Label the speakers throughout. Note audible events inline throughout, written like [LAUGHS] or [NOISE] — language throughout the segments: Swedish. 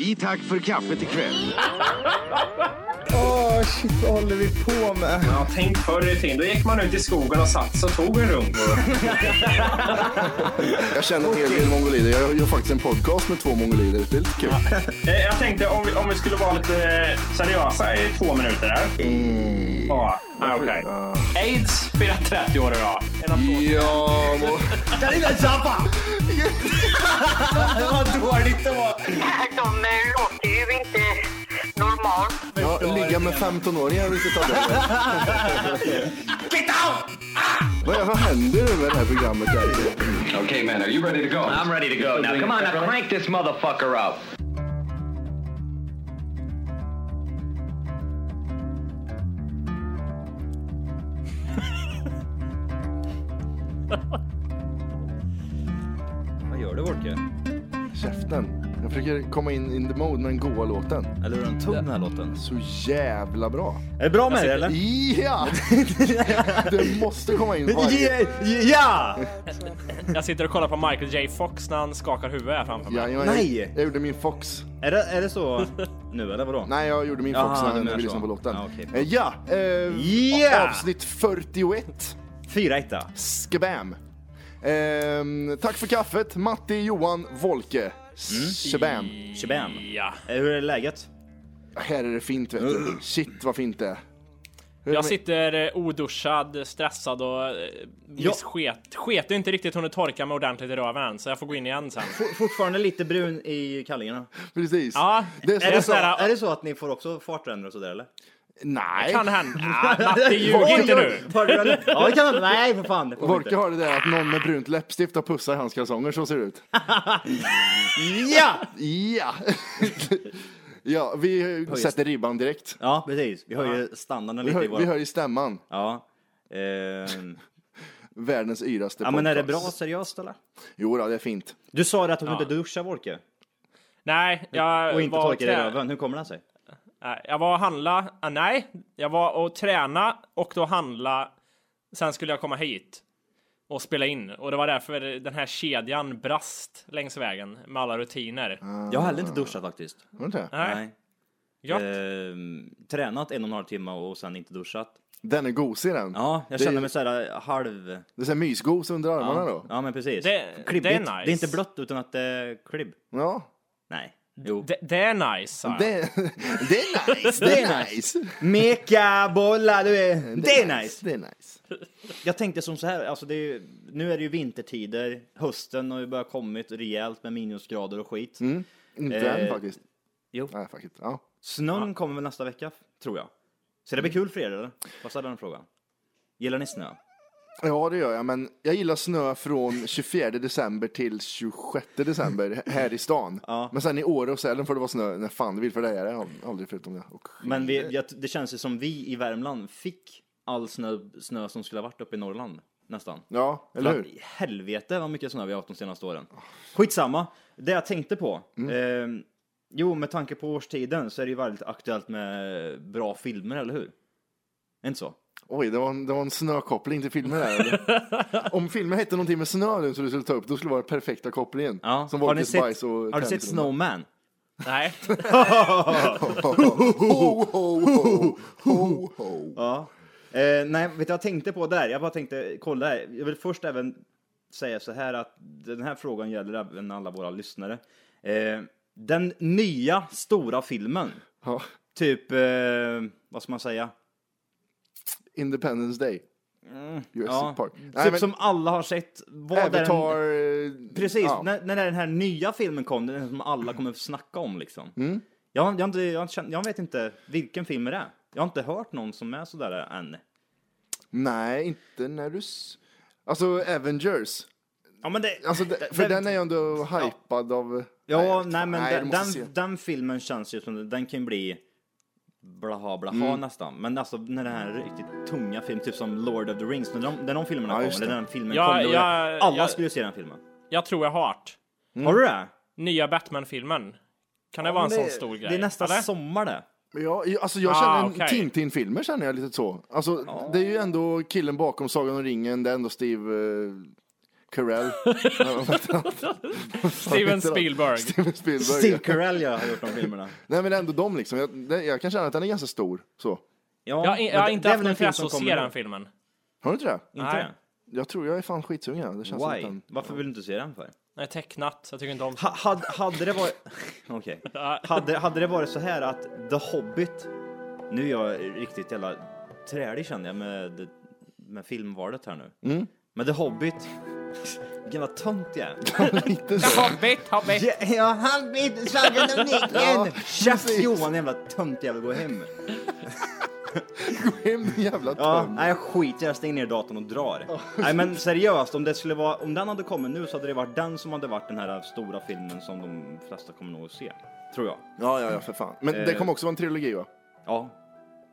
Speaker 1: I tack för kaffet
Speaker 2: [LAUGHS]
Speaker 1: ikväll.
Speaker 2: Ah,
Speaker 3: Åh, shit, vad håller vi på med?
Speaker 4: Ja, tänk förr i tiden. Då gick man ut i skogen och satt sig och tog en runk.
Speaker 2: Jag känner en hel del mongolider. Jag gör faktiskt en podcast med två mongolider. Det är lite kul.
Speaker 4: Eh, Jag tänkte om vi, om vi skulle vara lite eh, seriösa i två minuter där. Ja, ah, okej. Aids firar 30 år idag. En applåd.
Speaker 2: Ja, må...
Speaker 3: Den lilla Zappa! Vad dåligt det var!
Speaker 5: De eh, låter ju inte normalt.
Speaker 2: ja, ligga med 15-åringar vilket av det är.
Speaker 3: Get out!
Speaker 2: Vad är- Vad händer nu med det här programmet? Där?
Speaker 6: Okay, man, are you ready to go? I'm ready to go. Now, come on, now crank this motherfucker up.
Speaker 7: Vad gör du Wolke?
Speaker 2: Käften. Jag försöker komma in in the mode med den goa låten.
Speaker 7: Eller hur den tog den här låten?
Speaker 2: Så jävla bra.
Speaker 3: Är det bra med det eller?
Speaker 2: [LAUGHS] Ja! Det måste komma in varje...
Speaker 3: Ja! ja!
Speaker 8: Jag sitter och kollar på Michael J Fox när han skakar huvudet här framför mig.
Speaker 2: Ja, jag,
Speaker 3: Nej.
Speaker 2: jag gjorde min Fox.
Speaker 3: Är, det, är det så nu eller vadå?
Speaker 2: Nej, jag gjorde min
Speaker 3: Jaha,
Speaker 2: Fox
Speaker 3: du
Speaker 2: när
Speaker 3: menar
Speaker 2: vi
Speaker 3: så.
Speaker 2: lyssnade på låten.
Speaker 3: Ja, okej.
Speaker 2: Eh, Ja! eh,
Speaker 3: Ja!
Speaker 2: Avsnitt 41.
Speaker 3: Fyra etta.
Speaker 2: Skabam! Ehm, tack för kaffet, Matti, Johan, Volke. Shabam.
Speaker 3: Shabam.
Speaker 8: Ja.
Speaker 3: Eh, Hur är läget?
Speaker 2: Här är det fint vet du. Shit vad fint det är. Hur är det
Speaker 8: Jag
Speaker 2: med-
Speaker 8: sitter eh, oduschad, stressad och eh,
Speaker 3: Ja.
Speaker 8: visst sket. Sket ju inte riktigt hunnit torka mig ordentligt i röven än, så jag får gå in igen sen.
Speaker 3: For- Fortfarande lite brun i kallingarna.
Speaker 2: Precis.
Speaker 8: Ja,
Speaker 2: Det är
Speaker 8: är det
Speaker 2: så-
Speaker 8: så här,
Speaker 3: Är det så att ni får också fartränder och sådär eller?
Speaker 2: Nej!
Speaker 8: kan hända. Ja, Matti, ljug inte nu.
Speaker 3: nu! Ja, det kan Nej för fan, det får man
Speaker 2: Volke
Speaker 3: inte.
Speaker 2: har det där att någon med brunt läppstift har pussat i hans kalsonger, så ser det ut.
Speaker 3: Ja!
Speaker 2: Ja! [LAUGHS] ja, vi sätter ribban direkt.
Speaker 3: Ja, precis. Vi höjer standarden
Speaker 2: Vi
Speaker 3: lite
Speaker 2: hör,
Speaker 3: i vår...
Speaker 2: vi hör i stämman,
Speaker 3: Ja. Ehm,
Speaker 2: världens yraste
Speaker 3: ja men är det bra
Speaker 2: podcast.
Speaker 3: seriöst eller?
Speaker 2: Jo, då, det är fint.
Speaker 3: Du sa det att hon inte duschar Wolke.
Speaker 8: Nej, jag
Speaker 3: Och inte
Speaker 8: var
Speaker 3: torkar i
Speaker 8: trä-
Speaker 3: röven. Hur kommer det sig?
Speaker 8: Nej, Jag var och handla, ah, nej, jag var och träna och då handla. Sen skulle jag komma hit och spela in och det var därför den här kedjan brast längs vägen med alla rutiner.
Speaker 3: Jag har heller inte duschat faktiskt.
Speaker 2: Har du inte det?
Speaker 8: Nej, gött.
Speaker 3: Ehm, tränat en och en halv timme och sen inte duschat.
Speaker 2: Den är gosig den.
Speaker 3: Ja, jag
Speaker 2: Det-
Speaker 3: känner mig såhär halv...
Speaker 2: Det är så här mysgos under armarna då.
Speaker 3: Ja men precis.
Speaker 8: Det-
Speaker 3: Klibbigt.
Speaker 8: det är nice.
Speaker 3: Det är inte blött utan att det är klibb.
Speaker 2: Ja.
Speaker 3: Nej. Jo.
Speaker 8: Det, det är nice. sa jag.
Speaker 2: Det, [LAUGHS] det är nice, det är nice.
Speaker 3: Meka bollar du är... Det är nice!
Speaker 2: Det är nice.
Speaker 3: Jag tänkte som så här, alltså det är, ju- nu är det ju vintertider, hösten har ju börjat kommit rejält med minusgrader och skit.
Speaker 2: Inte
Speaker 3: Eh,
Speaker 2: än faktiskt.
Speaker 3: jo.
Speaker 2: Nej, fuck it. Ja.
Speaker 3: Snön kommer väl nästa vecka, tror jag. Så det blir kul för er eller? Vad ställer den frågan? Gillar ni snö?
Speaker 2: ja, det gör jag. Men jag gillar snö från 24 december till 26 december här i stan.
Speaker 3: Ja.
Speaker 2: Men sen i Åre och Sälen får det vara snö när fan du vill, för det är det ald- aldrig förutom det. Och,
Speaker 3: Men vi, jag, det känns ju som vi i Värmland fick all snö, snö som skulle ha varit uppe i Norrland, nästan.
Speaker 2: ja, eller hur?
Speaker 3: Att, helvete vad mycket snö vi har haft de senaste åren. Skitsamma. Det jag tänkte på.
Speaker 2: Mm.
Speaker 3: Eh, jo, med tanke på årstiden så är det ju väldigt aktuellt med bra filmer, eller hur? Inte så?
Speaker 2: Oj, det var, en, det var en snökoppling till filmen där. eller?
Speaker 3: [LAUGHS]
Speaker 2: Om filmen hette någonting med snö nu som du skulle ta upp, då skulle det vara den perfekta kopplingen.
Speaker 3: Ja.
Speaker 2: Som
Speaker 3: har ni
Speaker 2: Volkes
Speaker 3: sett,
Speaker 2: bajs och
Speaker 3: har du sett
Speaker 2: tändrum.
Speaker 3: Snowman?
Speaker 8: Nej.
Speaker 2: Ho, ho,
Speaker 3: [LAUGHS]
Speaker 2: ho, ho, ho.
Speaker 3: Ja. Eh, nej, vet du vad jag tänkte på där? Jag bara tänkte kolla här. Jag vill först även säga så här att den här frågan gäller även alla våra lyssnare. Eh, den nya stora filmen,
Speaker 2: Ja.
Speaker 3: typ, eh, vad ska man säga?
Speaker 2: Independence Day. Jurassic
Speaker 3: Mm, Ja,
Speaker 2: Park.
Speaker 3: typ
Speaker 2: Nej, men
Speaker 3: som alla har sett. Vad är den-
Speaker 2: Avatar... eh,
Speaker 3: Precis,
Speaker 2: ja.
Speaker 3: när, när den här nya filmen kom, den som alla kommer att snacka om liksom.
Speaker 2: Mm.
Speaker 3: Jag, har- jag, har inte, jag, har inte känt, jag vet inte vilken film det är. Jag har inte hört någon som är sådär än.
Speaker 2: Nej, inte när du... s- Alltså Avengers.
Speaker 3: Ja, men det,
Speaker 2: Alltså, de- för den är ju ändå hypad av...
Speaker 3: Ja,
Speaker 2: jag vet
Speaker 3: nej,
Speaker 2: inte.
Speaker 3: men
Speaker 2: Nej,
Speaker 3: den,
Speaker 2: du måste
Speaker 3: den,
Speaker 2: se.
Speaker 3: den filmen känns ju som den kan bli blaha blaha
Speaker 2: Mm.
Speaker 3: nästan. Men alltså när den här riktigt tunga filmen, typ som Lord of the Rings, när de, när de filmerna
Speaker 2: Ja,
Speaker 3: kom,
Speaker 2: just
Speaker 3: eller
Speaker 2: det.
Speaker 3: när den filmen
Speaker 8: Ja,
Speaker 3: kom, då var det-
Speaker 8: jag-
Speaker 3: alla
Speaker 8: jag-
Speaker 3: skulle se den filmen.
Speaker 8: Jag tror jag har det.
Speaker 2: Mm.
Speaker 3: Har du det?
Speaker 8: Nya Batman-filmen. Kan det vara en
Speaker 3: Men
Speaker 8: sån
Speaker 3: det-
Speaker 8: stor grej?
Speaker 3: Det är nästa
Speaker 8: eller?
Speaker 3: sommar det.
Speaker 2: Ja, ju- alltså jag
Speaker 8: Ah,
Speaker 2: känner en
Speaker 8: okej.
Speaker 2: Tintin-filmer känner jag lite så. Alltså, det är ju ändå killen bakom Sagan om ringen, det är ändå Steve... eh,
Speaker 8: [LAUGHS]
Speaker 2: Carell.
Speaker 3: [LAUGHS]
Speaker 8: Steven Spielberg.
Speaker 2: Steven Spielberg.
Speaker 3: Steve
Speaker 2: ja.
Speaker 3: Carell jag har gjort de filmerna.
Speaker 2: Nej men ändå de liksom. Jag, det- jag kan känna att den är ganska stor. Så.
Speaker 8: Jag, har in- jag
Speaker 3: men
Speaker 8: har
Speaker 3: det-
Speaker 8: inte
Speaker 3: det är
Speaker 8: haft
Speaker 3: väl
Speaker 8: någon
Speaker 3: en film
Speaker 8: intresse
Speaker 3: som
Speaker 8: att se
Speaker 3: kommer nu.
Speaker 8: den filmen.
Speaker 2: Har du inte det?
Speaker 3: Inte
Speaker 8: Nej.
Speaker 3: det?
Speaker 2: Jag tror jag är fan skitsugen. ja. Det känns som att
Speaker 3: Why?
Speaker 2: den... [LAUGHS]
Speaker 3: Varför vill du inte se den för?
Speaker 8: Den är tecknat, så jag tycker inte om
Speaker 3: Ha, had, hade det varit... [LAUGHS] Okej. Hade, hade det varit så här att The Hobbit... Nu är jag riktigt jävla trälig känner jag med, med filmvalet här nu. Men The Hobbit... [LAUGHS] Vilken vad tönt jag är.
Speaker 2: Inte så.
Speaker 8: Hobbit, Hobbit!
Speaker 3: [LAUGHS] Ja, ja, han vet slagen om
Speaker 2: Ja,
Speaker 3: nicken! Käft
Speaker 2: precis.
Speaker 3: Johan, jävla tönt jävel, gå hem.
Speaker 2: Gå hem din jävla
Speaker 3: Ja,
Speaker 2: tönt.
Speaker 3: nej jag skiter jag stänger ner datorn och drar. Nej men seriöst, om det skulle vara, om den hade kommit nu så hade det varit den som hade varit den här stora filmen som de flesta kommer nog att se. Tror jag.
Speaker 2: Ja, ja, ja, för fan. Men det
Speaker 3: Eh.
Speaker 2: kommer också vara en trilogi va?
Speaker 3: Ja.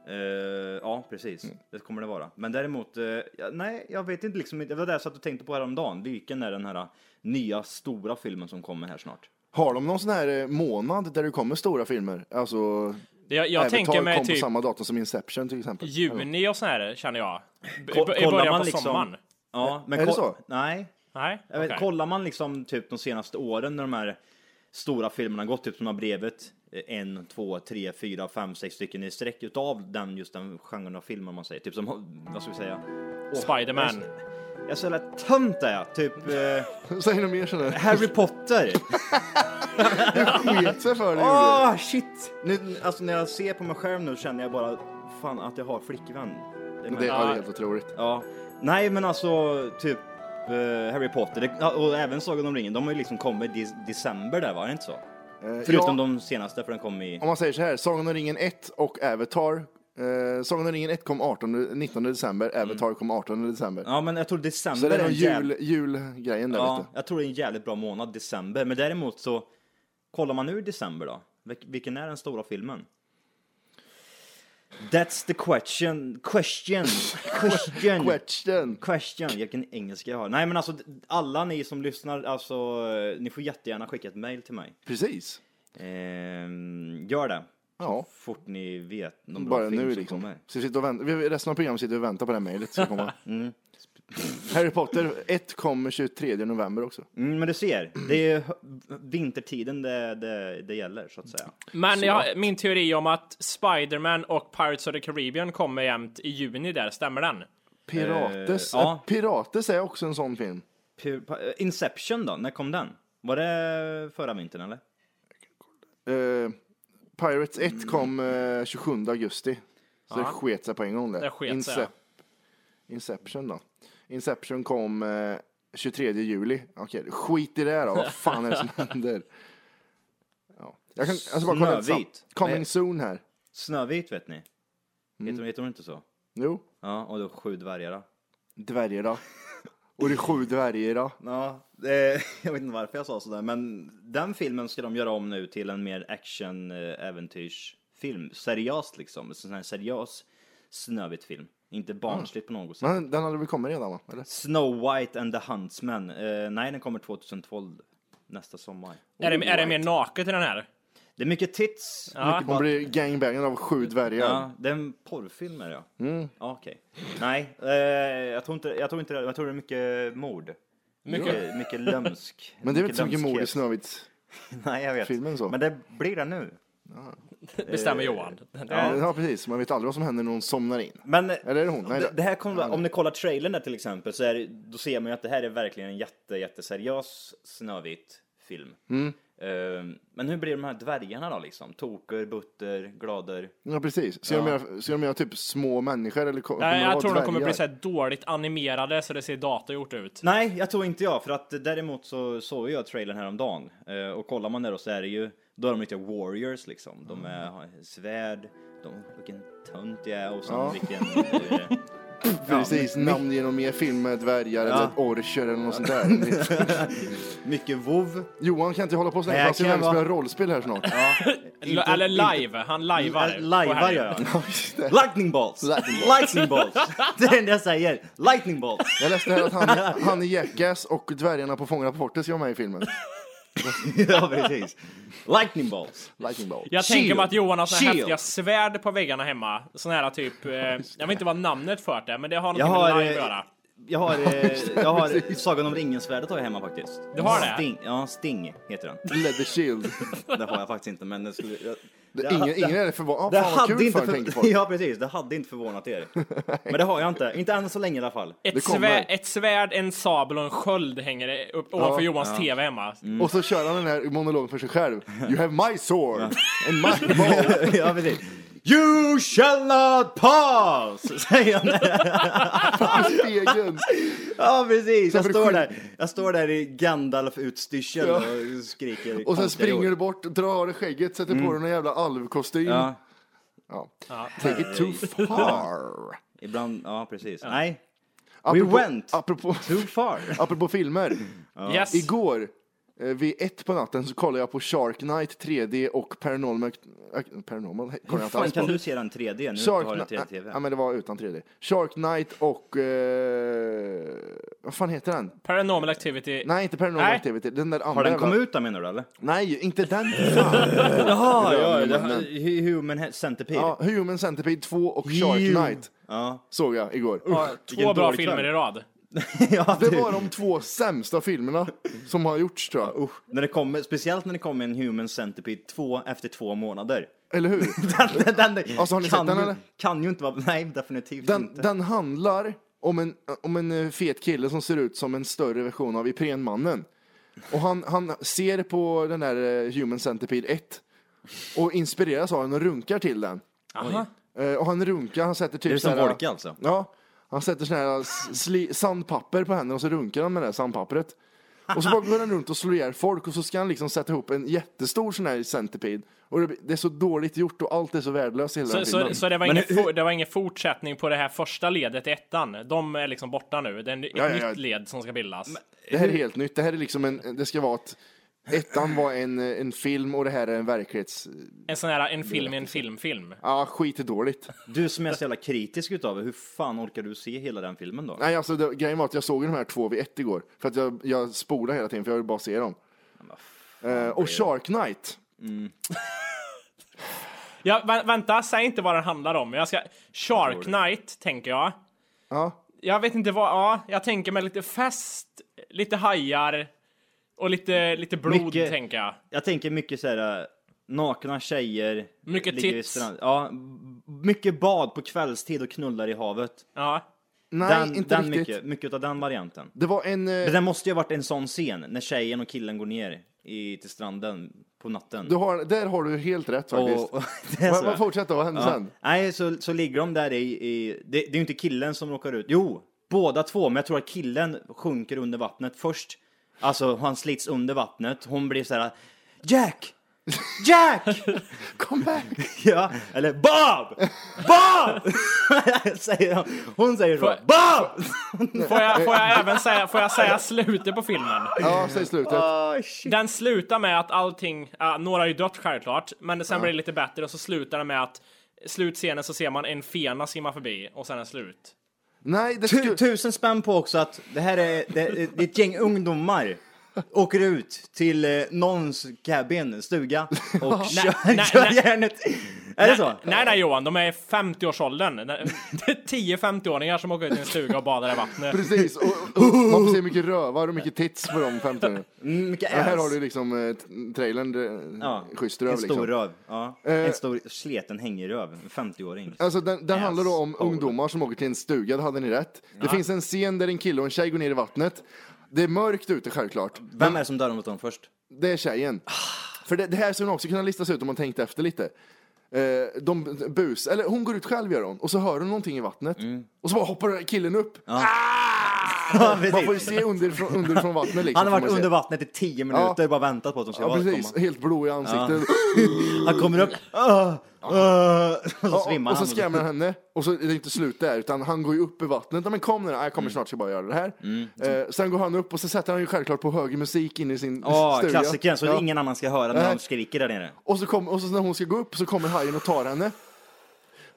Speaker 3: Eh, ja, precis.
Speaker 2: Mm.
Speaker 3: Det kommer det vara. Men däremot, eh, ja, nej, jag vet inte liksom. inte- Det var det jag satt och tänkte på häromdagen. Vilken är den här eh, nya stora filmen som kommer här snart?
Speaker 2: Har de någon sån här eh, månad där det kommer stora filmer? Alltså,
Speaker 8: Jag, jag
Speaker 2: Avatar
Speaker 8: tänker mig
Speaker 2: kom på
Speaker 8: typ
Speaker 2: samma datum som Inception till exempel.
Speaker 8: juni och sån här, känner jag. B-
Speaker 3: Ko-
Speaker 8: I
Speaker 3: kollar
Speaker 8: början
Speaker 3: man
Speaker 8: på
Speaker 3: liksom-
Speaker 8: sommaren.
Speaker 3: Ja, men
Speaker 2: är det
Speaker 3: ko-
Speaker 2: så?
Speaker 3: Nej,
Speaker 8: Nej,
Speaker 3: Jag vet,
Speaker 8: okej.
Speaker 3: Kollar man liksom typ de senaste åren när de här stora filmerna har gått, typ som har brevet, eh, en, två, tre, fyra, fem, sex stycken i sträck utav den, just den genren av filmer om man säger. Typ som, vad ska vi säga? Åh,
Speaker 8: Spiderman.
Speaker 3: Jag är så- jag är så jävla tönt där jag, typ
Speaker 2: [LAUGHS]
Speaker 3: eh,
Speaker 2: Säg något mer känner jag.
Speaker 3: Harry Potter.
Speaker 2: Sket sig för det gjorde.
Speaker 3: Åh shit! Nu, alltså när jag ser på mig själv nu känner jag bara, fan att jag har flickvän. Det är
Speaker 2: Det
Speaker 3: märkligt.
Speaker 2: är helt otroligt.
Speaker 3: Ja. Nej, men alltså typ eh, Harry Potter det, ja, och även Sagan om ringen. De har ju liksom kommit i december där, var det inte så? Förutom
Speaker 2: Eh, ja.
Speaker 3: de senaste, för den kom i...
Speaker 2: Om man säger så här, Sagan om ringen 1 och Avatar. Eh, Sagan om ringen 1 kom 18, 19 december, Avatar kom 18 december.
Speaker 3: Mm. Ja, men jag tror december
Speaker 2: så det är den
Speaker 3: en jävla-
Speaker 2: jul, julgrejen där
Speaker 3: Ja,
Speaker 2: vet du.
Speaker 3: jag tror det är en jävligt bra månad, december. Men däremot så, kollar man nu i december då? Vil- Vilken är den stora filmen? That's the question,
Speaker 2: [LAUGHS]
Speaker 3: question, question.
Speaker 2: Question.
Speaker 3: Question, vilken engelska jag har. Nej men alltså d- alla ni som lyssnar, alltså eh, ni får jättegärna skicka ett mail till mig.
Speaker 2: Precis.
Speaker 3: Ehm, gör det.
Speaker 2: Ja,
Speaker 3: Fort ni vet någon bra
Speaker 2: bara
Speaker 3: film
Speaker 2: nu
Speaker 3: som
Speaker 2: liksom.
Speaker 3: kommer.
Speaker 2: Så vi sitter och vänt- vi- resten av programmet sitter och väntar på det här mejlet. som kommer.
Speaker 3: [LAUGHS] Mm.
Speaker 2: Harry Potter 1 kommer 23 november också.
Speaker 3: Mm, men du ser, det är hö- vintertiden det, det, det gäller så att säga.
Speaker 8: Men jag, min teori om att Spiderman och Pirates of the Caribbean kommer jämt i juni där, stämmer den?
Speaker 2: Pirates.
Speaker 3: Eh, ja.
Speaker 2: Eh, Pirates är också en sån film.
Speaker 3: Pu- pa- eh, Inception då, när kom den? Var det förra vintern eller?
Speaker 2: Eh, Pirates 1 kom eh, 27 augusti. Så det sket sig på en gång där.
Speaker 8: Det sket sig, ja.
Speaker 2: Inception då. Inception kom eh, 23 juli. Okej, skit i det här då. Vad fan är det som händer? Ja. Jag kan alltså bara kolla lite
Speaker 3: Snövit.
Speaker 2: snabbt. Coming
Speaker 3: Nej.
Speaker 2: soon här.
Speaker 3: Snövit vet ni?
Speaker 2: Mm.
Speaker 3: Heter, de, heter de inte så?
Speaker 2: Jo,
Speaker 3: Ja, och då sju dvärgar då.
Speaker 2: dvärgar då. Och det är sju dvärgar då.
Speaker 3: Ja, eh, [LAUGHS] jag vet inte varför jag sa sådär, men den filmen ska de göra om nu till en mer action eh, äventyrsfilm. Seriöst liksom, en sån här seriös Snövit-film. Inte barnsligt på något sätt.
Speaker 2: Men den hade väl kommit redan va? Eller?
Speaker 3: Snow White and the Huntsman. Eh, nej, den kommer 2012, nästa sommar.
Speaker 8: är, det, är det mer naket i den här?
Speaker 3: Det är mycket tits.
Speaker 8: Ja.
Speaker 2: Hon blir gangbangad av sju dvärgar.
Speaker 3: Ja, det är en porrfilm är det ja.
Speaker 2: Mm.
Speaker 3: Ja, okej. Nej, eh, jag, tror inte, jag tror inte det. Jag tror det är mycket mord. Mycket, mycket lömsk.
Speaker 2: Men det är väl inte så mycket mord i
Speaker 3: lömskhet.
Speaker 2: Snövits?
Speaker 3: [LAUGHS] Nej, jag vet.
Speaker 2: filmen så.
Speaker 3: Men det blir det nu.
Speaker 8: Bestämmer
Speaker 3: Eh,
Speaker 8: Johan.
Speaker 2: Ja. precis. Man vet aldrig vad som händer när hon somnar in.
Speaker 3: Men
Speaker 2: Eller är det hon? Nej,
Speaker 3: det,
Speaker 2: det-
Speaker 3: det här kommer, om ni kollar trailern där till exempel så är, det- då ser man ju att det här är verkligen en jätte, jätteseriös Snövit film.
Speaker 2: Mm.
Speaker 3: Ehm, men hur blir de här dvärgarna då liksom? Toker, butter, glader?
Speaker 2: Ja, precis. Ser de göra- ser de göra typ små människor eller ko- kommer
Speaker 8: Nej,
Speaker 2: det
Speaker 8: jag
Speaker 2: vara
Speaker 8: tror de kommer
Speaker 2: dvärgar?
Speaker 8: bli så här dåligt animerade så det ser datorgjort ut.
Speaker 3: Nej, jag tror inte jag, för att däremot så såg jag trailern häromdagen eh, och kollar man det då så är det ju, då är de riktiga warriors liksom.
Speaker 2: Mm.
Speaker 3: De är, har svärd, de, vilken tönt jag är och sen
Speaker 2: Ja.
Speaker 3: vilken... eh,
Speaker 2: [LAUGHS] Precis, namn genom mer film med dvärgar eller orcher eller något sånt
Speaker 3: [LAUGHS]
Speaker 2: där.
Speaker 3: mycket vov.
Speaker 2: Johan kan inte hålla på sådär,
Speaker 3: Nej,
Speaker 2: han ska
Speaker 3: jag kan
Speaker 2: väl spela rollspel här snart.
Speaker 8: L- Eller live, han lajvar.
Speaker 3: Äh, Lajvar
Speaker 8: På
Speaker 3: gör
Speaker 8: helgen.
Speaker 2: [LAUGHS]
Speaker 3: jag. [LAUGHS] Lightning balls!
Speaker 2: Lightning
Speaker 3: Lightning [LAUGHS] balls! Det är det enda jag säger. Lightning balls!
Speaker 2: Jag läste här att han, han är Jackass och dvärgarna på Fångarna på fortet ska vara med i filmen.
Speaker 3: [LAUGHS] ja, precis. Lightning balls!
Speaker 2: Lightning Bolt.
Speaker 8: Jag tänker mig att Johan har såna här
Speaker 3: Shield.
Speaker 8: häftiga
Speaker 3: [LAUGHS]
Speaker 8: svärd på väggarna hemma. Såna här typ, eh, jag vet inte vad namnet för det, men det har
Speaker 3: Jag
Speaker 8: något med
Speaker 3: har...
Speaker 8: live att
Speaker 3: eh,
Speaker 8: göra.
Speaker 3: Jag har, eh, jag har Sagan om ringen-svärdet har jag hemma faktiskt.
Speaker 8: Du har det?
Speaker 3: Sting, ja, Sting heter den.
Speaker 2: Leather shield.
Speaker 3: Det har jag faktiskt inte, men det skulle... Jag,
Speaker 2: Det,
Speaker 3: jag-
Speaker 2: ingen, ingen är förvånad. Ah, fan vad kul för tänker folk.
Speaker 3: Ja, precis. Det hade inte förvånat er. Men det har jag inte. Inte än så länge i
Speaker 8: [LAUGHS]
Speaker 3: alla fall.
Speaker 8: Ett,
Speaker 2: Det kommer.
Speaker 8: svär, ett svärd, en sabel och en sköld hänger det upp ovanför Johans TV hemma.
Speaker 2: Och så kör han den här monologen för sig själv. You have my sword and my bow.
Speaker 3: ja, precis. You shall not pass! Säger han.
Speaker 2: Stegen.
Speaker 3: Ja, precis.
Speaker 2: Så
Speaker 3: Jag
Speaker 2: för
Speaker 3: står
Speaker 2: sjuk-
Speaker 3: där, jag står där i Gandalf-utstyrseln
Speaker 2: Ja.
Speaker 3: och skriker.
Speaker 2: Och sen
Speaker 3: konstiga
Speaker 2: springer
Speaker 3: ord.
Speaker 2: du bort, drar av dig skägget, sätter på dig någon jävla alvkostym.
Speaker 3: Mm. Ja,
Speaker 2: Take it too
Speaker 3: [LAUGHS]
Speaker 2: far.
Speaker 3: ibland. Ja, precis. Nej,
Speaker 2: Apropå-
Speaker 3: went.
Speaker 2: Apropå,
Speaker 3: too far.
Speaker 2: apropå filmer.
Speaker 8: Yes.
Speaker 2: Igår eh, vid ett på natten så kollade jag på Shark Knight 3D och Paranormal... äh, Paranormal? he- Kollade jag
Speaker 3: Hur
Speaker 2: inte
Speaker 3: fan
Speaker 2: alls
Speaker 3: kan
Speaker 2: på.
Speaker 3: du se den 3D nu?
Speaker 2: Shark
Speaker 3: Shark...
Speaker 2: Knight...
Speaker 3: TV?
Speaker 2: Ja men det var utan 3D. Shark Knight och... Eh, vad fan heter den?
Speaker 8: Paranormal activity.
Speaker 2: Nej, inte Paranormal
Speaker 8: Nej.
Speaker 2: Activity. Den där andra.
Speaker 3: Har den kommit
Speaker 2: va?
Speaker 3: ut då menar du eller?
Speaker 2: Nej, inte den. [LAUGHS] Fan.
Speaker 3: Jaha,
Speaker 2: ja, det-
Speaker 3: Human He- Centipede.
Speaker 2: ja, Human Centipede 2 och Shark
Speaker 3: Ew.
Speaker 2: Knight
Speaker 3: Ja. [LAUGHS]
Speaker 2: såg jag igår.
Speaker 8: Två bra
Speaker 3: dålig
Speaker 8: filmer
Speaker 3: kväll.
Speaker 8: i rad.
Speaker 3: ja,
Speaker 2: Det
Speaker 3: du-
Speaker 2: var de två sämsta filmerna som har gjorts tror jag.
Speaker 3: Usch, när det kommer, speciellt när det kommer en Human Centipede 2 efter två månader. [LAUGHS]
Speaker 2: Eller hur?
Speaker 3: Den, den,
Speaker 2: Alltså, har ni
Speaker 3: kan
Speaker 2: sett den,
Speaker 3: ju,
Speaker 2: eller?
Speaker 3: Kan ju inte vara, [LAUGHS] nej definitivt
Speaker 2: Den,
Speaker 3: inte.
Speaker 2: den handlar om en, om en eh, fet kille som ser ut som en större version av Iprenmannen. Och han, han ser på den där eh, Human Centipede 1 och inspireras av den och runkar till den.
Speaker 8: Aha.
Speaker 2: Eh, Och han runkar, han sätter typ
Speaker 3: Är det som
Speaker 2: så här-
Speaker 3: Volke, alltså?
Speaker 2: Ja. Han sätter sån här s- sli, sandpapper på händerna och så runkar han med det här sandpappret. Och så bara går han runt och slår ihjäl folk och så ska han liksom sätta ihop en jättestor sån här centipede. Och det, blir- det är så dåligt gjort och allt är så värdelöst i hela den
Speaker 8: Så, så,
Speaker 2: filmen.
Speaker 8: så det, var
Speaker 3: Men
Speaker 8: ingen,
Speaker 3: hur-
Speaker 8: fo- det var ingen fortsättning på det här första ledet i ettan. De är liksom borta nu. Det är ett
Speaker 2: ja, ja.
Speaker 8: nytt led som ska bildas.
Speaker 2: Det här är helt nytt. Det här är liksom en, det ska vara att ettan var en, en film och det här är en verklighets...
Speaker 8: En sån här en film i en filmfilm.
Speaker 2: Ja, ah, skit är dåligt.
Speaker 3: Du som är så jävla kritisk utav det, hur fan orkar du se hela den filmen då?
Speaker 2: Nej, alltså det, grejen var att jag såg ju de här två vid ett igår. För att jag, jag spolade hela tiden för jag ville bara se dem. Eh, och Shark Knight.
Speaker 8: Ja, vä- vänta, säg inte vad den handlar om. Jag ska... Shark Knight, tänker jag.
Speaker 2: Ja.
Speaker 8: Jag vet inte vad... Ja, jag tänker mig lite fest, lite hajar och lite, lite blod,
Speaker 3: Mycket-
Speaker 8: tänker jag.
Speaker 3: Jag tänker mycket så här äh, nakna tjejer.
Speaker 8: Mycket
Speaker 3: ligger vid
Speaker 8: tits.
Speaker 3: strand- Ja, m- mycket bad på kvällstid och knullar i havet.
Speaker 8: Ja.
Speaker 2: Nej,
Speaker 3: den,
Speaker 2: inte
Speaker 3: den
Speaker 2: riktigt.
Speaker 3: mycket, mycket av den varianten.
Speaker 2: Det var en... eh,
Speaker 3: Men det måste ju ha varit en sån scen när tjejen och killen går ner i, till stranden på natten.
Speaker 2: Du har, där har du helt rätt faktiskt.
Speaker 3: och, och, [LAUGHS] det är
Speaker 2: Vad-
Speaker 3: så.
Speaker 2: vad fortsätter, vad hände sen?
Speaker 3: Nej, så, så ligger de där i... i det, det är ju inte killen som råkar ut. Jo, båda två, men jag tror att killen sjunker under vattnet först. Alltså, han slits under vattnet. Hon blir så här... Jack! Jack!
Speaker 2: Kom back!
Speaker 3: ja, eller Bob!
Speaker 2: [LAUGHS]
Speaker 3: Bob! säger hon. hon säger så.
Speaker 8: Får-
Speaker 3: Bob!
Speaker 2: [LAUGHS]
Speaker 8: Får jag, får jag även säga, får jag säga slutet på filmen?
Speaker 2: Ja, säg slutet.
Speaker 3: Åh, shit.
Speaker 8: Den slutar med att allting, ja, några har ju dött självklart, men sen blir det lite bättre och så slutar den med att slutscenen så ser man en fena simma förbi och sen är det slut.
Speaker 2: Nej, det
Speaker 3: Tu,
Speaker 2: skulle...
Speaker 3: tusen spänn på också att det här är, det, det är ett gäng ungdomar. Åker ut till eh, någons cabin, stuga [LAUGHS] och kör,
Speaker 8: nej,
Speaker 3: kör
Speaker 8: nej.
Speaker 3: järnet. Är det så?
Speaker 8: Nej, nej Johan, de är i 50-årsåldern. Det är 10 50-åringar som åker ut i en stuga och badar i vattnet.
Speaker 2: Precis, och, och, man får se mycket rövar och mycket tits på de 15
Speaker 3: Mm, Mycket
Speaker 2: Ja, här
Speaker 3: ass.
Speaker 2: har du liksom eh, t- trailern, det-
Speaker 3: Ja,
Speaker 2: schysst röv
Speaker 3: En stor
Speaker 2: liksom.
Speaker 3: röv. Ja. En stor sleten hängröv. En 50-åring.
Speaker 2: Alltså den, den handlar då om ungdomar som åker till en stuga, det hade ni rätt. Det finns en scen där en kille och en tjej går ner i vattnet. Det är mörkt ute självklart.
Speaker 3: Vem är det som dör mot dem först?
Speaker 2: Det är tjejen.
Speaker 3: Ah.
Speaker 2: För det, det här skulle man också kunna listas ut om man tänkte efter lite. Eh, de bus, eller hon går ut själv gör hon, och så hör hon någonting i vattnet.
Speaker 3: Mm.
Speaker 2: Och så bara hoppar killen upp.
Speaker 3: [LAUGHS] Ja,
Speaker 2: Man får ju
Speaker 3: precis.
Speaker 2: se underifrån, underifrån vattnet liksom.
Speaker 3: Han
Speaker 2: får
Speaker 3: har varit
Speaker 2: man se.
Speaker 3: under vattnet i 10 minuter bara väntat på att de ska
Speaker 2: Ja
Speaker 3: vara-
Speaker 2: precis,
Speaker 3: komma.
Speaker 2: helt blå i ansiktet.
Speaker 3: Han kommer upp. "Åh, åh", och [LAUGHS] så
Speaker 2: Ah,
Speaker 3: svimmar
Speaker 2: och så
Speaker 3: han.
Speaker 2: skrämmer han henne. Och så är det inte slut där, utan han går ju upp i vattnet. "Ja, Men kom nu då. "Ja, jag
Speaker 3: Mm.
Speaker 2: kommer snart, ska bara göra det här. Eh, sen går han upp och så sätter han ju självklart på hög musik inne i sin [LAUGHS]
Speaker 3: Ja,
Speaker 2: stuga.
Speaker 3: klassikern. Så
Speaker 2: Ja.
Speaker 3: ingen annan ska höra när
Speaker 2: Nej.
Speaker 3: de skriker där nere.
Speaker 2: Och, så kom, och så när hon ska gå upp så kommer hajen och tar henne.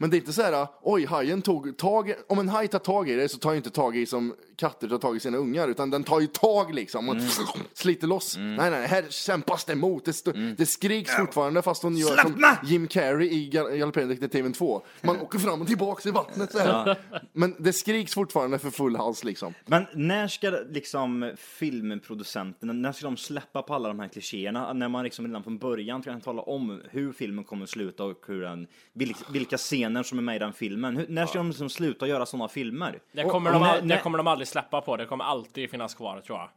Speaker 2: Men det är inte så här, oj, hajen tog tag i- Om en haj tar tag i dig så tar ju inte tag i som katter tar tag i sina ungar, utan den tar ju tag liksom och [SNIFFS] sliter loss. Nej, nej, här kämpas det emot. Det, st- det skriks fortfarande fast hon gör som
Speaker 3: Slappna!
Speaker 2: Jim Carrey i Gal- Galopperande detektiven 2. Man åker fram och tillbaks i vattnet så här. Men det skriks fortfarande för full hals liksom.
Speaker 3: Men när ska liksom filmproducenterna, när ska de släppa på alla de här klichéerna? När man liksom redan från början kan tala om hur filmen kommer att sluta och hur den, vilk- vilka scener som är med i den filmen. Hur, när ska de liksom sluta göra sådana filmer?
Speaker 8: Det kommer,
Speaker 3: Och-
Speaker 8: de,
Speaker 3: och när-
Speaker 8: all- det
Speaker 3: när-
Speaker 8: kommer de aldrig släppa på. Det kommer alltid finnas kvar tror jag.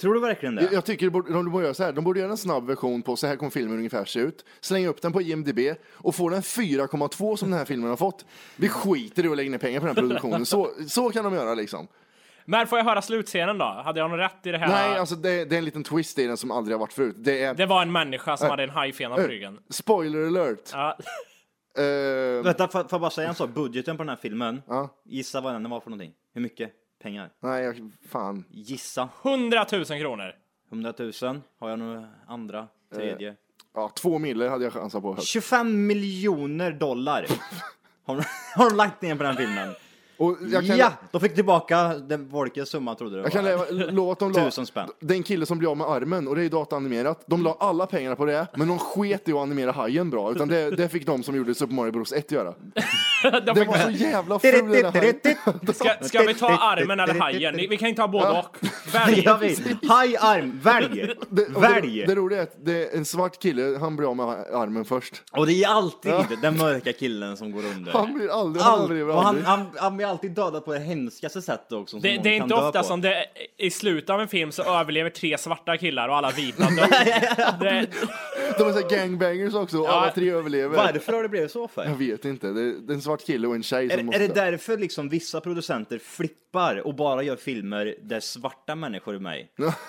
Speaker 3: Tror du verkligen det?
Speaker 2: Jag, jag tycker de borde, de borde göra så här. De borde göra en snabb version på så här kommer filmen ungefär se ut. Slänga upp den på IMDB och få den 4,2 som den här filmen har fått. Vi skiter i att lägga ner pengar på den här produktionen. Så, så kan de göra liksom.
Speaker 8: Men får jag höra slutscenen då? Hade jag någon rätt i det här?
Speaker 2: Nej, alltså det, det är en liten twist i den som aldrig har varit förut. Det är...
Speaker 8: Det var en människa som hade en hajfena på ryggen.
Speaker 2: Spoiler alert!
Speaker 8: Ja.
Speaker 2: Eh,
Speaker 3: Vänta, får får jag bara säga en sak? Budgeten på den här filmen, gissa vad den var för någonting? Hur mycket pengar?
Speaker 2: nej, jag, fan.
Speaker 3: Gissa.
Speaker 8: 100 000 kronor.
Speaker 3: 100 000? Har jag några andra? Tredje?
Speaker 2: Eh, Ja, två mille hade jag chansat på. högt.
Speaker 3: 25 miljoner
Speaker 2: [LAUGHS]
Speaker 3: dollar har de, har de lagt ner på den filmen.
Speaker 2: Och jag kan,
Speaker 3: Ja, de fick tillbaka den folkets summa trodde du det
Speaker 2: jag kan
Speaker 3: var.
Speaker 2: leva, lova att de la...
Speaker 3: Tusen spänn.
Speaker 2: Det är en kille som blir av med armen och det är ju dataanimerat. De la alla pengarna på det, men de sket i att animera hajen bra. Utan det, det fick de som gjorde Super Mario Bros 1
Speaker 3: [LAUGHS]
Speaker 2: göra.
Speaker 8: De
Speaker 2: Det
Speaker 8: fick
Speaker 2: var så jävla ful den här hajen.
Speaker 8: Ska, ska vi ta armen eller hajen? Ni- Vi kan ju ta både och.
Speaker 3: [LAUGHS]
Speaker 8: Välj.
Speaker 3: Jag vet. High arm, välj!
Speaker 2: Det, och
Speaker 3: Välj!
Speaker 2: det, det roliga är att det är en svart kille, han blir av med armen först.
Speaker 3: Och det är alltid den mörka killen som går under.
Speaker 2: Han blir aldrig, han
Speaker 3: Allt,
Speaker 2: blir
Speaker 3: och han,
Speaker 2: aldrig.
Speaker 3: han, han blir alltid dödad på det hemskaste sättet också. Som
Speaker 8: Det,
Speaker 3: någon
Speaker 8: det är
Speaker 3: kan
Speaker 8: inte
Speaker 3: dö
Speaker 8: ofta
Speaker 3: på.
Speaker 8: som det i slutet av en film så överlever tre svarta killar och alla vita
Speaker 3: [LAUGHS]
Speaker 8: dör. Det,
Speaker 2: De är så här gangbangers också och alla tre överlever.
Speaker 3: Varför har det blivit så för?
Speaker 2: Jag vet inte, det är, det är en svart kille och en tjej som
Speaker 3: Är,
Speaker 2: måste...
Speaker 3: är det därför liksom vissa producenter flippar och bara gör filmer där svarta människor är med?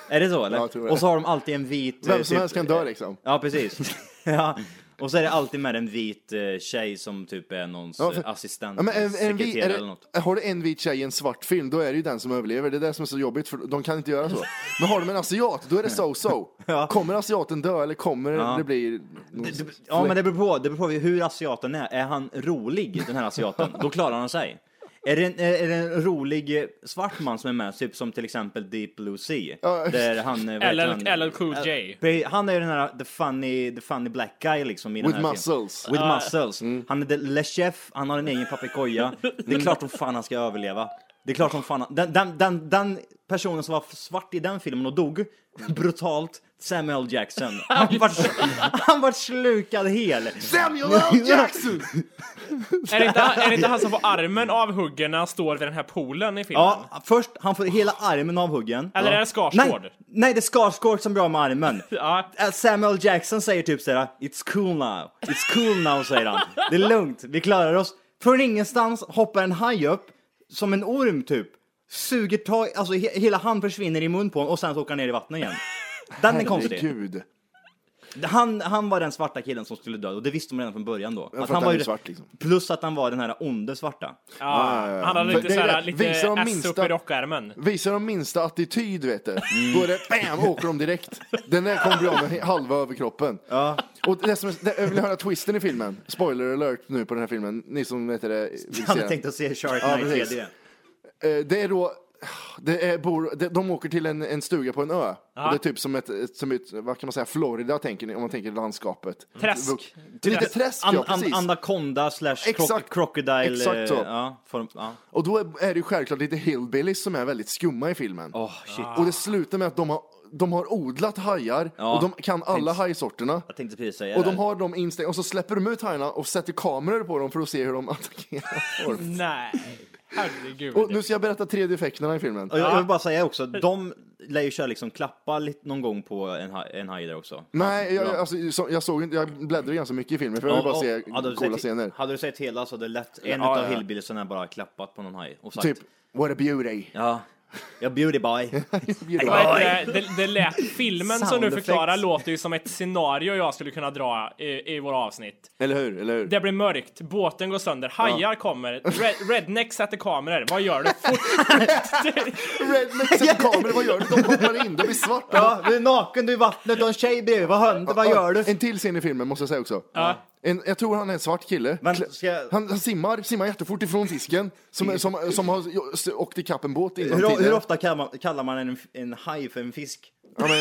Speaker 3: är det så eller?
Speaker 2: Ja, jag tror det.
Speaker 3: Och så har de alltid en vit... eh,
Speaker 2: Vem som helst kan dö liksom. [LAUGHS]
Speaker 3: Ja, precis. ja. Och så är det alltid med en vit eh, tjej som typ är någons
Speaker 2: Ja,
Speaker 3: ja,
Speaker 2: för-
Speaker 3: assistent,
Speaker 2: Ja, men en, en, vi-
Speaker 3: sekreterare
Speaker 2: är
Speaker 3: eller något.
Speaker 2: det, har du en vit tjej i en svart film, då är det ju den som överlever. Det är det som är så jobbigt, för de kan inte göra så. Men har de en asiat, då är det so-so.
Speaker 3: [LAUGHS] Ja.
Speaker 2: Kommer asiaten dö eller kommer det bli...
Speaker 3: Det- det- Ja, men det beror på, det beror på hur asiaten är. Är han rolig, den här asiaten, då klarar han sig. Är det, en, är är det en rolig eh, svart man som är med, typ som till exempel Deep Blue Sea?
Speaker 2: Ja.
Speaker 3: Där han... eh, vad heter
Speaker 8: LL
Speaker 3: han?
Speaker 8: LL Cool J.
Speaker 3: Pre- Han är ju den här the funny, the funny black guy liksom i den
Speaker 2: With
Speaker 3: här
Speaker 2: muscles.
Speaker 3: Filmen. With
Speaker 8: Ah.
Speaker 3: muscles. Mm. Han är the le chef, han har en egen papegoja. Det är klart som fan han ska överleva. Det är klart som fan han... den, den, den, den personen som var svart i den filmen och dog brutalt, Samuel Jackson.
Speaker 8: [LAUGHS]
Speaker 3: Han vart, han vart slukad hel.
Speaker 2: Samuel [LAUGHS] L. Jackson!
Speaker 8: är, det inte, han- är det inte han som får armen avhuggen när han står vid den här poolen i filmen?
Speaker 3: Ja, först han får hela armen avhuggen.
Speaker 8: Eller
Speaker 3: ja.
Speaker 8: är det Skarsgård?
Speaker 3: Nej, nej, det är Skarsgård som blir av med armen.
Speaker 8: [LAUGHS] Ja.
Speaker 3: Eh, Samuel Jackson säger typ såhär It's cool now, it's cool now säger han. Det är lugnt, vi klarar oss. Från ingenstans hoppar en haj upp som en orm typ. Suger tag, alltså he- hela han försvinner i mun på honom och sen så åker han ner i vattnet igen. Den är konstig.
Speaker 2: Herregud.
Speaker 3: Han, han var den svarta killen som skulle dö och det visste de redan från början då.
Speaker 2: för att
Speaker 3: han
Speaker 2: han
Speaker 3: var
Speaker 2: är
Speaker 3: ju-
Speaker 2: svart, liksom.
Speaker 3: Plus att han var den här onde svarta.
Speaker 8: Ja, han hade
Speaker 2: Men
Speaker 8: lite,
Speaker 2: det är
Speaker 8: såhär,
Speaker 2: det.
Speaker 8: lite
Speaker 2: Visa de
Speaker 8: S
Speaker 2: minsta-
Speaker 8: upp i rockärmen.
Speaker 2: Visar de minsta attityd, vet du,
Speaker 3: Mm.
Speaker 2: då är det bam, åker de direkt. Den där kommer bli av med he- halva överkroppen. Och det som är, det, jag vill höra twisten i filmen. Spoiler alert nu på den här filmen, ni som vet det vill se
Speaker 3: Han
Speaker 2: den.
Speaker 3: tänkte se Shark
Speaker 2: Ja,
Speaker 3: Night
Speaker 2: precis.
Speaker 3: 3D.
Speaker 2: Eh, Det är då, det är, bor, de, de åker till en, en stuga på en ö. Och det är typ som ett, ett- som ett, vad kan man säga, Florida tänker ni, om man tänker landskapet.
Speaker 8: Träsk.
Speaker 2: Lite träsk,
Speaker 3: An,
Speaker 2: ja
Speaker 3: an,
Speaker 2: precis.
Speaker 3: anaconda slash cro-
Speaker 2: Exakt.
Speaker 3: crocodile.
Speaker 2: Exakt så.
Speaker 3: eh, Ja, form, ja.
Speaker 2: Och då är, är det ju självklart lite hillbillies som är väldigt skumma i filmen.
Speaker 3: Åh, shit.
Speaker 2: Och det slutar med att de har, de har odlat hajar
Speaker 3: Ja.
Speaker 2: och de kan alla hajsorterna.
Speaker 3: Jag tänkte precis säga
Speaker 2: Och
Speaker 3: det.
Speaker 2: de har dem instängda och så släpper de ut hajarna och sätter kameror på dem för att se hur de [LAUGHS] attackerar
Speaker 3: [LAUGHS]
Speaker 2: folk.
Speaker 8: Nej, herregud.
Speaker 2: Och nu ska jag berätta tredje effekterna i filmen.
Speaker 3: Och jag, jag vill bara säga också, de lär ju köra liksom klappa lite någon gång på en, ha- en haj där
Speaker 2: Mm,
Speaker 3: också.
Speaker 2: Nej, jag, alltså, så- jag såg inte, jag bläddrade ganska mycket i filmen för jag vill bara se
Speaker 3: hade du
Speaker 2: coola
Speaker 3: sett,
Speaker 2: scener.
Speaker 3: Hade du sett hela så hade det lätt en
Speaker 2: Ja,
Speaker 3: utav
Speaker 2: ja,
Speaker 3: ja,
Speaker 2: ja.
Speaker 3: hillbilliesarna bara klappat på någon haj och sagt
Speaker 2: Typ, what a beauty.
Speaker 3: ja, jag beauty boy.
Speaker 2: [LAUGHS] Beauty.
Speaker 8: Vad heter det? Det, det lät, filmen som du
Speaker 3: Sound
Speaker 8: förklarar
Speaker 3: effects.
Speaker 8: låter ju som ett scenario jag skulle kunna dra i, i våra avsnitt.
Speaker 2: Eller hur? Eller hur?
Speaker 8: Det blir mörkt, båten går sönder, hajar kommer, red, redneck sätter kameror. Vad gör du? Fort,
Speaker 2: Redneck
Speaker 3: [LAUGHS]
Speaker 2: sätter kameror, vad gör du? De hoppar in, de blir svarta.
Speaker 3: ja, du är naken, du är i vattnet, du har en tjej bredvid, vad händer, vad gör du?
Speaker 2: En till scen i filmen måste jag säga också. En, jag tror han är en svart kille.
Speaker 3: Men
Speaker 2: Klä-
Speaker 3: ska jag-
Speaker 2: han, han simmar, simmar jättefort ifrån fisken som, som, som har åkt i kapp en båt innan
Speaker 3: Hur,
Speaker 2: tiden.
Speaker 3: hur ofta kallar man, kallar man en, en haj för
Speaker 2: [LAUGHS]
Speaker 3: en fisk?
Speaker 2: Ja, men,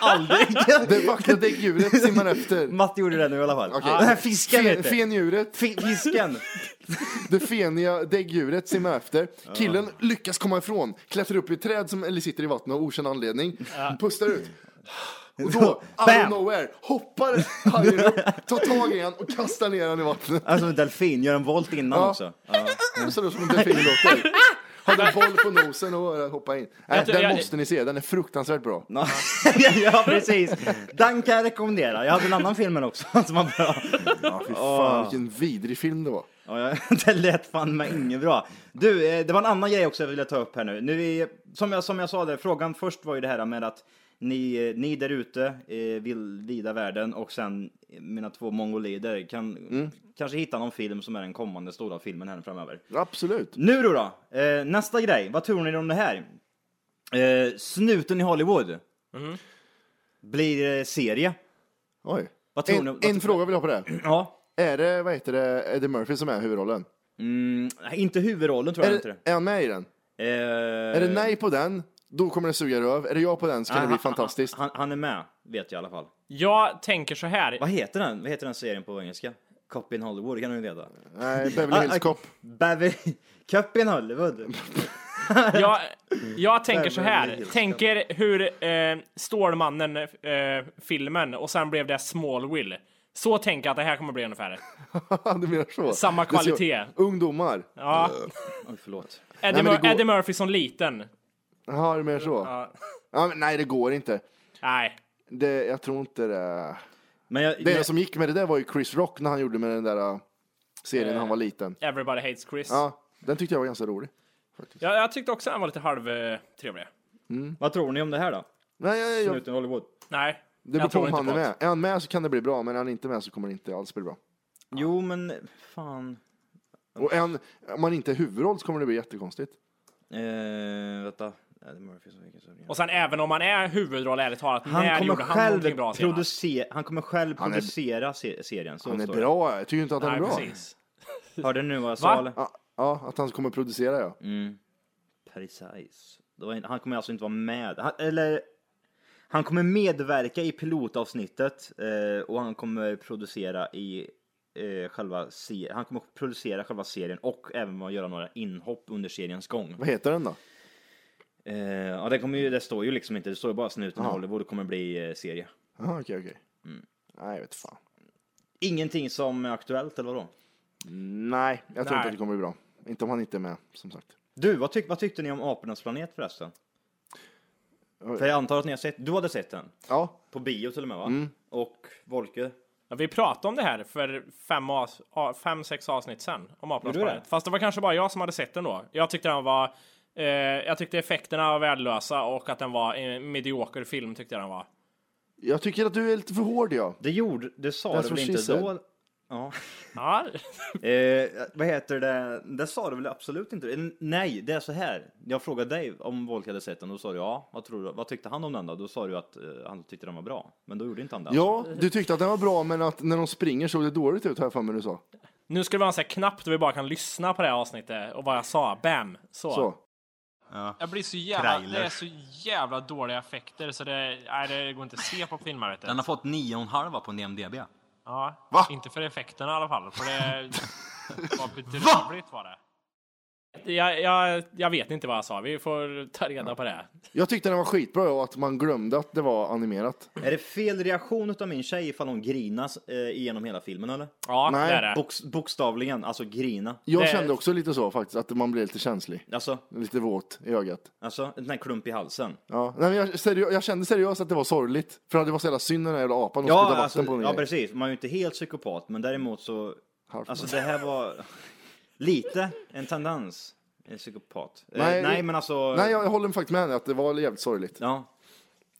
Speaker 3: Aldrig!
Speaker 2: det vackra däggdjuret simmar [LAUGHS]
Speaker 3: [LAUGHS]
Speaker 2: efter.
Speaker 3: Matte gjorde det nu i alla fall.
Speaker 2: Okej.
Speaker 3: Den här fisken
Speaker 2: Fe,
Speaker 3: vet du.
Speaker 2: fendjuret,
Speaker 3: Fi- Fisken!
Speaker 2: det feniga däggdjuret simmar efter. Killen lyckas komma ifrån, klättrar upp i ett träd som, eller sitter i vattnet av okänd anledning, pustar ut. Och då, out of
Speaker 3: Bam!
Speaker 2: nowhere, hoppar hajen upp, tar tag i han och kastar ner han i vattnet.
Speaker 3: Alltså en delfin, gör en volt innan
Speaker 2: Ja.
Speaker 3: också.
Speaker 2: Så det som en delfin låter. Hade en boll på nosen och hoppa in. Nej,
Speaker 8: tror-
Speaker 2: den
Speaker 8: jag-
Speaker 2: måste ni se, den är fruktansvärt bra.
Speaker 3: Ja. [LAUGHS] ja, precis. Den kan jag rekommendera. Jag hade en annan film också [LAUGHS] som var bra.
Speaker 2: Ja, fy fan vilken vidrig film det var.
Speaker 3: Ja, [LAUGHS] ja, det lät fan mig inget bra. Du, eh, det var en annan grej också jag ville ta upp här nu. nu är, som, jag, som jag sa, där, frågan först var ju det här med att ni, eh, ni där ute eh, vill lida världen och sen eh, mina två mongolider kan kanske hitta någon film som är den kommande stora filmen här framöver.
Speaker 2: Absolut.
Speaker 3: Nu då, då eh, nästa grej. Vad tror ni om det här? Eh, snuten i Hollywood blir eh, serie.
Speaker 2: Oj.
Speaker 3: Vad tror ni?
Speaker 2: En,
Speaker 3: Vad
Speaker 2: en
Speaker 3: tror-
Speaker 2: fråga vill jag ha på det här.
Speaker 3: Ja.
Speaker 2: Är det, vad heter det, Eddie Murphy som är huvudrollen?
Speaker 3: Mm, inte huvudrollen tror
Speaker 2: Är,
Speaker 3: jag inte.
Speaker 2: det, är han med i den?
Speaker 3: Eh,
Speaker 2: Är det nej på den, då kommer den suga röv. Är det ja på den så kan
Speaker 8: Ah,
Speaker 2: det bli fantastiskt.
Speaker 3: Han, han är med, vet jag i alla fall.
Speaker 8: [LAUGHS] Jag tänker så här.
Speaker 3: Vad heter den? Vad heter den serien på engelska? Cop in Hollywood, det kan du ju veta. Ah,
Speaker 2: Nej,
Speaker 8: Ah,
Speaker 2: Beverly Hills Cop.
Speaker 3: Beverly... [LAUGHS] Cop
Speaker 8: [LAUGHS]
Speaker 3: in Hollywood.
Speaker 8: Jag,
Speaker 2: [LAUGHS]
Speaker 8: jag tänker så
Speaker 3: Beverly
Speaker 8: här.
Speaker 3: Hills.
Speaker 8: Tänker hur eh, Stålmannen-filmen och sen blev det Smallville. Så tänker jag att det här kommer bli ungefär.
Speaker 2: [LAUGHS] du menar så?
Speaker 8: ah, Samma
Speaker 2: Det är så-
Speaker 8: kvalitet.
Speaker 2: Ungdomar. [LAUGHS]
Speaker 8: Ja.
Speaker 3: Oj, förlåt.
Speaker 2: Nej,
Speaker 8: Eddie,
Speaker 2: men det
Speaker 8: Mur-
Speaker 2: går-
Speaker 8: Eddie Murphy som liten.
Speaker 2: Jaha, du menar så?
Speaker 8: Ja.
Speaker 2: Ja, men nej, det går inte.
Speaker 8: Nej.
Speaker 2: Det, jag tror inte det.
Speaker 3: Men jag,
Speaker 2: Det enda som gick med det där var ju Chris Rock när han gjorde med den där äh, serien
Speaker 8: Eh.
Speaker 2: när han var liten.
Speaker 8: Everybody hates Chris.
Speaker 2: Ja, den tyckte jag var ganska rolig.
Speaker 8: Jag, jag tyckte också han var lite halvtrevlig.
Speaker 3: Vad tror ni om det här då?
Speaker 2: Nej, jag, jag,
Speaker 3: Snuten i Hollywood.
Speaker 8: Nej.
Speaker 2: det beror
Speaker 8: jag
Speaker 2: på
Speaker 8: tror
Speaker 2: om
Speaker 8: inte
Speaker 2: han är
Speaker 8: på
Speaker 2: med. Är han med så kan det bli bra, men är han inte med så kommer det inte alls bli bra.
Speaker 3: Jo, men fan.
Speaker 2: Och är han, om han inte är huvudroll så kommer det bli jättekonstigt.
Speaker 3: Eh, vänta. Ja, det är Murphy som fick en
Speaker 8: Och sen även om han är huvudroll, ärligt talat, när
Speaker 3: Han kommer
Speaker 8: gjorde han
Speaker 3: själv
Speaker 8: någonting bra senast?
Speaker 3: producera, han kommer själv
Speaker 2: Han är-
Speaker 3: producera se- serien. Så
Speaker 2: Han är
Speaker 3: står det.
Speaker 2: bra, jag tycker inte att han
Speaker 8: Nej,
Speaker 2: är bra.
Speaker 8: precis.
Speaker 3: Hörde ni nu vad jag sa?
Speaker 8: Va?
Speaker 3: eller?
Speaker 2: Ja, ja, att han kommer producera ja.
Speaker 3: Precis. Det var inte, han kommer alltså inte vara med. Han, eller, han kommer medverka i pilotavsnittet eh, och han kommer producera i eh, själva serien. Han kommer producera själva serien och även vara- göra några inhopp under seriens gång.
Speaker 2: Vad heter den då?
Speaker 3: Eh, ja, det, kommer ju, det står ju liksom inte. Det står ju bara snuten i
Speaker 2: Ja.
Speaker 3: Hollywood kommer bli eh, serie.
Speaker 2: Jaha, okej, okej. Mm. Nej, jag vet fan.
Speaker 3: Ingenting som är aktuellt eller vadå?
Speaker 2: Nej, jag tror
Speaker 8: Nej.
Speaker 2: inte att det kommer bli bra. Inte om han inte är med, som sagt.
Speaker 3: Du, vad, tyck, vad tyckte ni om Apornas planet förresten? För jag antar att ni har sett, du hade sett den?
Speaker 2: Ja,
Speaker 3: På bio till och med va? Och Volke?
Speaker 8: Ja, vi pratade om det här för fem, avs- a- fem sex avsnitt sen, om
Speaker 3: Gjorde du
Speaker 8: Apornas
Speaker 3: det?
Speaker 8: Fast det var kanske bara jag som hade sett den då. Jag tyckte den var... Eh, jag tyckte effekterna var värdelösa och att den var en medioker film tyckte jag den var.
Speaker 2: jag tycker att du är lite för hård ja.
Speaker 3: Det gjorde, det sa
Speaker 2: That's
Speaker 3: du
Speaker 2: what
Speaker 3: väl
Speaker 2: she
Speaker 3: inte
Speaker 2: said.
Speaker 3: då? Ja.
Speaker 8: Ja, [LAUGHS]
Speaker 3: Eh, vad heter det? Det sa du väl absolut inte? Eh, Nej, det är så här. Jag frågade dig om Volke hade sett den och då sa du ja. Vad, tror du, vad tyckte han om den då? Då sa du att eh, han tyckte den var bra. Men då gjorde inte han det.
Speaker 2: Ja, du tyckte att den var bra, men att när de springer såg det dåligt ut, har jag för mig du sa.
Speaker 8: nu ska vi ha en sån här knapp där vi bara kan lyssna på det här avsnittet och vad jag sa. Bam! Så.
Speaker 2: Så.
Speaker 8: Jag blir så jävla...
Speaker 3: Trailer.
Speaker 8: Det är så jävla dåliga effekter så det... Nej, det går inte att se på filmer vet du.
Speaker 7: har fått 9,5 på NMDB.
Speaker 8: Ja.
Speaker 2: Va?
Speaker 8: Inte för effekterna i alla fall. För det var bedrövligt var det. Jag, jag, jag vet inte vad jag sa. Vi får ta reda på det.
Speaker 2: Jag tyckte den var skitbra och att man glömde att det var animerat.
Speaker 3: Är det fel reaktion utav min tjej ifall hon grinas eh, igenom hela filmen eller?
Speaker 8: Ja,
Speaker 2: Nej,
Speaker 8: det är det.
Speaker 3: Box, bokstavligen, alltså grina.
Speaker 2: Jag
Speaker 8: Det-
Speaker 2: kände också lite så faktiskt, att man blev lite känslig.
Speaker 3: Alltså,
Speaker 2: Lite våt i ögat.
Speaker 3: alltså den här klump i halsen.
Speaker 2: Ja. Nej, men jag, seriö- jag kände seriöst att det var sorgligt. För det var så jävla synd den där jävla apan och
Speaker 3: Ja,
Speaker 2: sprutade
Speaker 3: alltså,
Speaker 2: vatten på den.
Speaker 3: ja precis. Man är ju inte helt psykopat men däremot så
Speaker 2: Halvt.
Speaker 3: Alltså det här var [LAUGHS] lite en tendens. En psykopat.
Speaker 2: Nej,
Speaker 3: Nej, nej men alltså.
Speaker 2: Nej, jag, jag håller faktiskt med henne att det var jävligt sorgligt.
Speaker 3: Ja,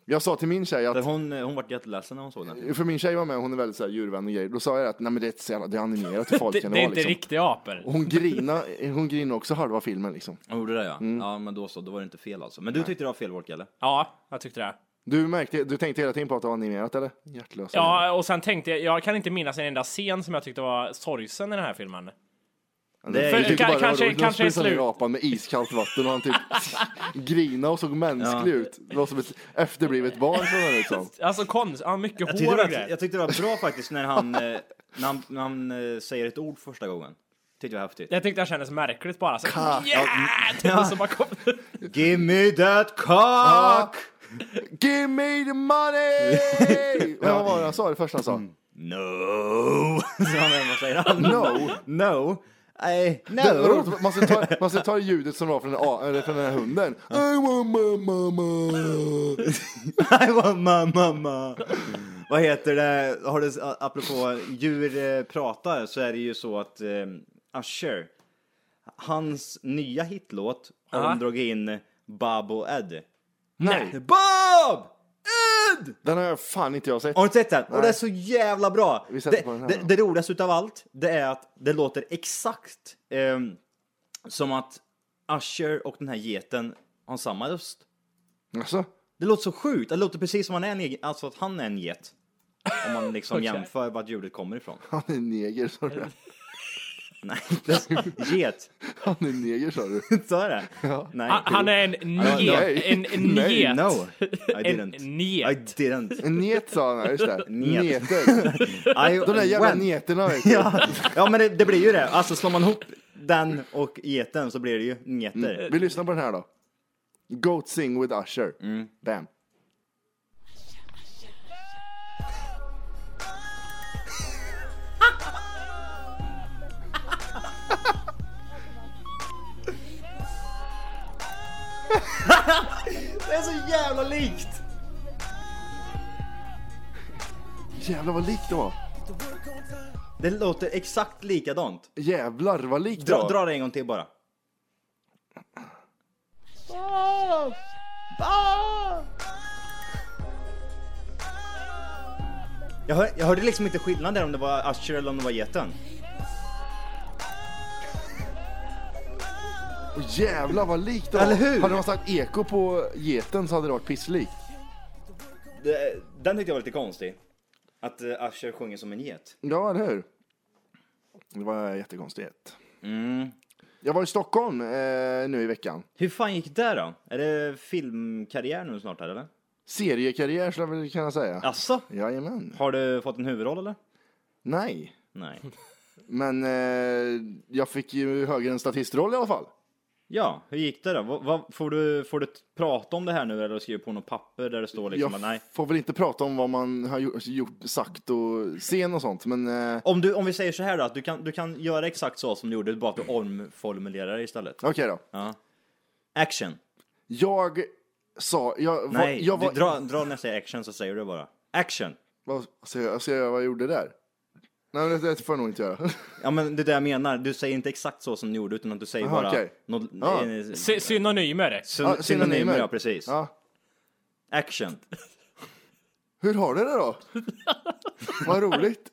Speaker 2: Jag sa till min tjej
Speaker 3: för
Speaker 2: att,
Speaker 3: hon, eh, hon vart jätteledsen när hon såg den.
Speaker 2: för min tjej var med, hon är väldigt så här djurvän och grejer. Då sa jag att nej men det är, ett så jävla, det är animerat, hur farligt
Speaker 8: Det,
Speaker 2: kan
Speaker 8: det
Speaker 2: det vara
Speaker 8: är inte
Speaker 2: liksom?
Speaker 8: riktiga apor.
Speaker 2: Och hon grinade, hon grinade också halva filmen liksom.
Speaker 3: Hon gjorde det ja. Ja men då så, då var det inte fel alltså. Men du tyckte det var fel Wolke eller?
Speaker 8: Ja, jag tyckte det.
Speaker 2: Du, märkte, du tänkte hela tiden på att det var animerat eller? Hjärtlösa.
Speaker 8: Ja, och sen tänkte jag, jag kan inte minnas en enda scen som jag tyckte var sorgsen i den här filmen.
Speaker 2: Nej,
Speaker 3: För-
Speaker 2: jag tyckte
Speaker 8: ka-
Speaker 2: bara det var
Speaker 8: kanske-
Speaker 2: roligt.
Speaker 8: kanske
Speaker 2: De
Speaker 8: i
Speaker 2: sprutade
Speaker 8: slut.
Speaker 2: ner apan med iskallt vatten och han
Speaker 8: [LAUGHS]
Speaker 2: typ grina och såg mänsklig ut. Det var som ett efterblivet barn såg han ut
Speaker 8: [LAUGHS]
Speaker 2: som.
Speaker 8: Alltså konst, ja, mycket
Speaker 3: Jag
Speaker 8: hår
Speaker 3: tyckte,
Speaker 8: och
Speaker 3: det var,
Speaker 8: grejer.
Speaker 3: jag tyckte det var bra faktiskt när han, eh, [LAUGHS] när han, när han eh, säger ett ord första gången. Tyckte jag var häftigt.
Speaker 8: Jag tyckte det kändes märkligt bara. Så, yeah! Typ, och så bara kom. [LAUGHS]
Speaker 3: Give me that cock!
Speaker 2: Give me the money!
Speaker 8: [LAUGHS]
Speaker 2: Men vad var det han sa? Det första han sa?
Speaker 8: Mm.
Speaker 3: No! [LAUGHS] Så han, vad säger han?
Speaker 2: No.
Speaker 3: No! I,
Speaker 2: Det var
Speaker 3: no!
Speaker 2: roligt. Man ska ta, man ska ta ljudet som var från den, a- eller från den här hunden. I want my mama.
Speaker 3: I want my mama! Vad heter det, har du, apropå djur eh, pratar så är det ju så att eh, Usher, hans nya hitlåt har
Speaker 8: Ja.
Speaker 3: de dragit in Bob och Ed.
Speaker 2: Nej,
Speaker 3: Bob! Ed!
Speaker 2: den har jag fan inte jag sett.
Speaker 3: Har du inte sett den? Och
Speaker 2: Nej.
Speaker 3: det är så jävla bra!
Speaker 2: Vi sätter
Speaker 3: Det,
Speaker 2: på den här
Speaker 3: det,
Speaker 2: då.
Speaker 3: det roligaste utav allt, det är att det låter exakt ehm, som att Usher och den här geten har samma röst.
Speaker 2: Alltså,
Speaker 3: Det låter så sjukt, det låter precis som han är en egen, alltså att han är en get. Om man
Speaker 2: [LAUGHS]
Speaker 3: liksom jämför vart ljudet kommer ifrån.
Speaker 2: han är neger sa du.
Speaker 3: Nej, det är get. [LAUGHS]
Speaker 2: Han är neger sa du.
Speaker 3: Så är det. Nej. typ
Speaker 8: Han- Han är en njet.
Speaker 2: nej.
Speaker 8: En Ah, en
Speaker 2: Nej,
Speaker 8: njet.
Speaker 3: No, I
Speaker 8: [LAUGHS] En
Speaker 3: didn't. I
Speaker 8: njet. [LAUGHS]
Speaker 3: didn't.
Speaker 2: En Njet sa han, ja, just det.
Speaker 3: Njet.
Speaker 2: Neter.
Speaker 3: I
Speaker 2: De där jävla
Speaker 3: went.
Speaker 2: neterna vet du.
Speaker 3: Ja, ja men det, det blir ju det. Alltså slår man ihop den och geten så blir det ju njeter.
Speaker 8: Mm.
Speaker 2: Vi lyssnar på den här då. Goat Sing with Usher. Bam.
Speaker 3: Det är så jävla likt!
Speaker 2: Jävlar vad likt det var.
Speaker 3: Det låter exakt likadant.
Speaker 2: Jävlar vad likt det
Speaker 3: Dra,
Speaker 2: var.
Speaker 3: dra det en gång till bara. Jag, hör, jag hörde liksom inte skillnad där om det var Usher eller om det var geten.
Speaker 2: Och jävlar vad likt det var.
Speaker 3: Eller hur?
Speaker 2: Hade man sagt eko på geten så hade det varit pisslikt.
Speaker 3: Det- Den tyckte jag var lite konstig. Att eh, Usher sjunger som en get.
Speaker 2: Ja, eller hur? Det var jättekonstigt. Jag var i Stockholm eh, nu i veckan.
Speaker 3: Hur fan gick det då? Är det filmkarriär nu snart här eller?
Speaker 2: Seriekarriär skulle jag väl kunna säga.
Speaker 3: Asså?
Speaker 2: Jajamän.
Speaker 3: Har du fått en huvudroll eller?
Speaker 2: Nej.
Speaker 3: Nej.
Speaker 2: Men eh, jag fick ju högre än statistroll i alla fall.
Speaker 3: Ja, hur gick det då? Vad, vad, får, du, får du t- prata om det här nu eller skriva på något papper där det står liksom
Speaker 2: jag
Speaker 3: att nej?
Speaker 2: får väl inte prata om vad man har gjort, gjort sagt och scen och sånt, men eh,
Speaker 3: Om, du, om vi säger så här då, att du kan, du kan göra exakt så som du gjorde, bara att du omformulerar det istället.
Speaker 2: okej då.
Speaker 3: Action.
Speaker 2: Jag sa, jag, var,
Speaker 3: Nej,
Speaker 2: jag var,
Speaker 3: du, dra, dra när jag säger action så säger du det bara. Action.
Speaker 2: vad ska jag, ska jag göra vad jag gjorde där? Nej, men det, det får jag nog inte göra. [LAUGHS]
Speaker 3: Ja men det är det jag menar, du säger inte exakt så som du gjorde utan att du säger
Speaker 2: Aha,
Speaker 3: bara
Speaker 2: okej.
Speaker 3: något,
Speaker 2: Ja.
Speaker 3: eh, syn-
Speaker 8: Sy- Synonymer.
Speaker 2: Ja,
Speaker 3: synonymer,
Speaker 2: synonymer.
Speaker 3: ja precis.
Speaker 2: ja.
Speaker 3: Action.
Speaker 2: [LAUGHS] Hur har du det då?
Speaker 3: [LAUGHS]
Speaker 2: vad roligt.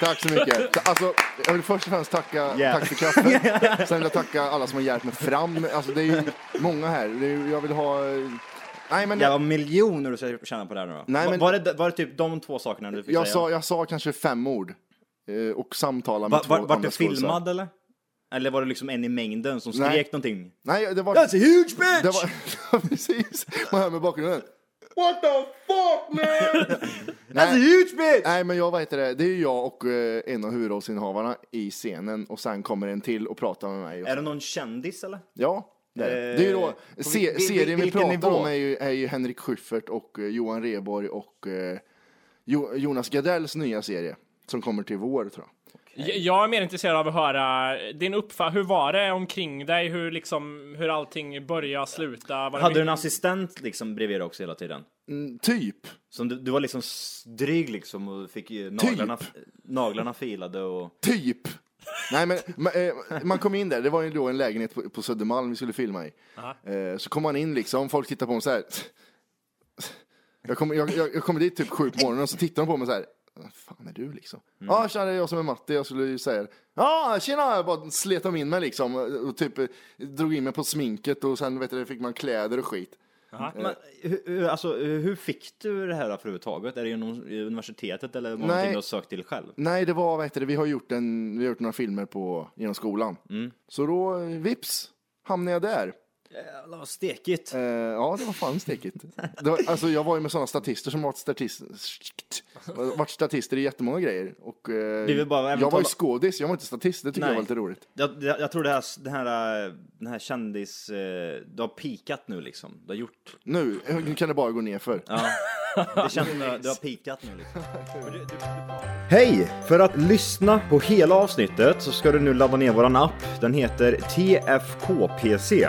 Speaker 2: Tack så mycket. Alltså, jag vill först och främst tacka,
Speaker 3: [LAUGHS] Yeah.
Speaker 2: tack för kaffet. Sen vill jag tacka alla som har hjälpt mig fram. Alltså, det är ju många här. Det är, ju- jag vill ha... Nej, men
Speaker 3: Jävla miljoner du ska tjäna på det här nu då.
Speaker 2: Nej,
Speaker 3: Va-
Speaker 2: men-
Speaker 3: var, det, var det typ de två sakerna du fick
Speaker 2: Jag
Speaker 3: säga?
Speaker 2: sa, jag sa kanske fem ord eh, och samtala med
Speaker 3: Va,
Speaker 2: två
Speaker 3: var, vart
Speaker 2: andra
Speaker 3: du
Speaker 2: skådisar.
Speaker 3: filmad eller? Eller var det liksom en i mängden som
Speaker 2: Nej.
Speaker 3: skrek någonting?
Speaker 2: Nej, det var...
Speaker 3: That's a huge bitch!
Speaker 2: det var [LAUGHS] precis, man hör med bakgrunden. What the fuck man!
Speaker 3: That's a
Speaker 2: nej,
Speaker 3: huge bitch!
Speaker 2: nej, men jag, vad heter det, det är ju jag och eh, en av huvudrollsinnehavarna i scenen och sen kommer en till och pratar med mig. Och,
Speaker 3: Är det någon kändis eller?
Speaker 2: ja, det är det. Det är ju då,
Speaker 3: Eh,
Speaker 2: se,
Speaker 3: vil- vil-
Speaker 2: serien vi
Speaker 3: vilken
Speaker 2: pratar
Speaker 3: nivå?
Speaker 2: om är ju, är ju Henrik Schyffert och eh, Johan Rheborg och eh, jo, Jonas Gardells nya serie som kommer till vår tror jag.
Speaker 8: Jag- Jag är mer intresserad av att höra din uppfattning. Hur var det omkring dig? Hur, liksom, hur allting började, sluta? Var det
Speaker 3: Hade du en
Speaker 8: mycket-
Speaker 3: assistent liksom bredvid dig också hela tiden?
Speaker 2: Mm, typ.
Speaker 3: Som du, du var liksom s- dryg liksom och fick ju naglarna, naglarna filade och...
Speaker 2: Typ. Nej, men man, eh, man kom in där, det var ju då en lägenhet på, på Södermalm vi skulle filma i. Eh, så kom man in liksom, folk tittade på mig så här. Jag kommer jag, jag, jag kom dit typ sju på morgonen och så tittar de på mig så här. Vad fan är du liksom? Ja, tjena, det är jag som är Matti. Jag skulle ju säga ja, tjena, jag bara slet de in mig liksom. Och typ eh, drog in mig på sminket och sen vet du, fick man kläder och skit.
Speaker 3: Men, hur- hur, alltså, hur fick du det här överhuvudtaget? Är det genom universitetet eller var det någonting
Speaker 2: Nej.
Speaker 3: du har sökt till själv?
Speaker 2: Nej, det var, vad heter det, vi har gjort, en, vi har gjort några filmer på, genom skolan. Så då, eh, vips, hamnade jag där.
Speaker 3: Jävlar vad stekigt.
Speaker 2: Eh, ja, det var fan stekigt. Det var, alltså, jag var ju med sådana statister som varit, statist, varit statister i jättemånga grejer. Och, eh,
Speaker 3: vill bara även
Speaker 2: jag var ju
Speaker 3: tala-
Speaker 2: skådis, jag var inte statist. Det tycker
Speaker 3: Nej.
Speaker 2: jag var lite roligt.
Speaker 3: Jag, jag, jag tror det här, den här, eh, den här kändis... eh, Du har pikat nu liksom. Du har gjort...
Speaker 2: Nu, eh, nu kan det bara gå ner för.
Speaker 3: Det känns som att du har pikat nu liksom. Hej! För att lyssna på hela avsnittet så ska du nu ladda ner våran app. Den heter TFKPC.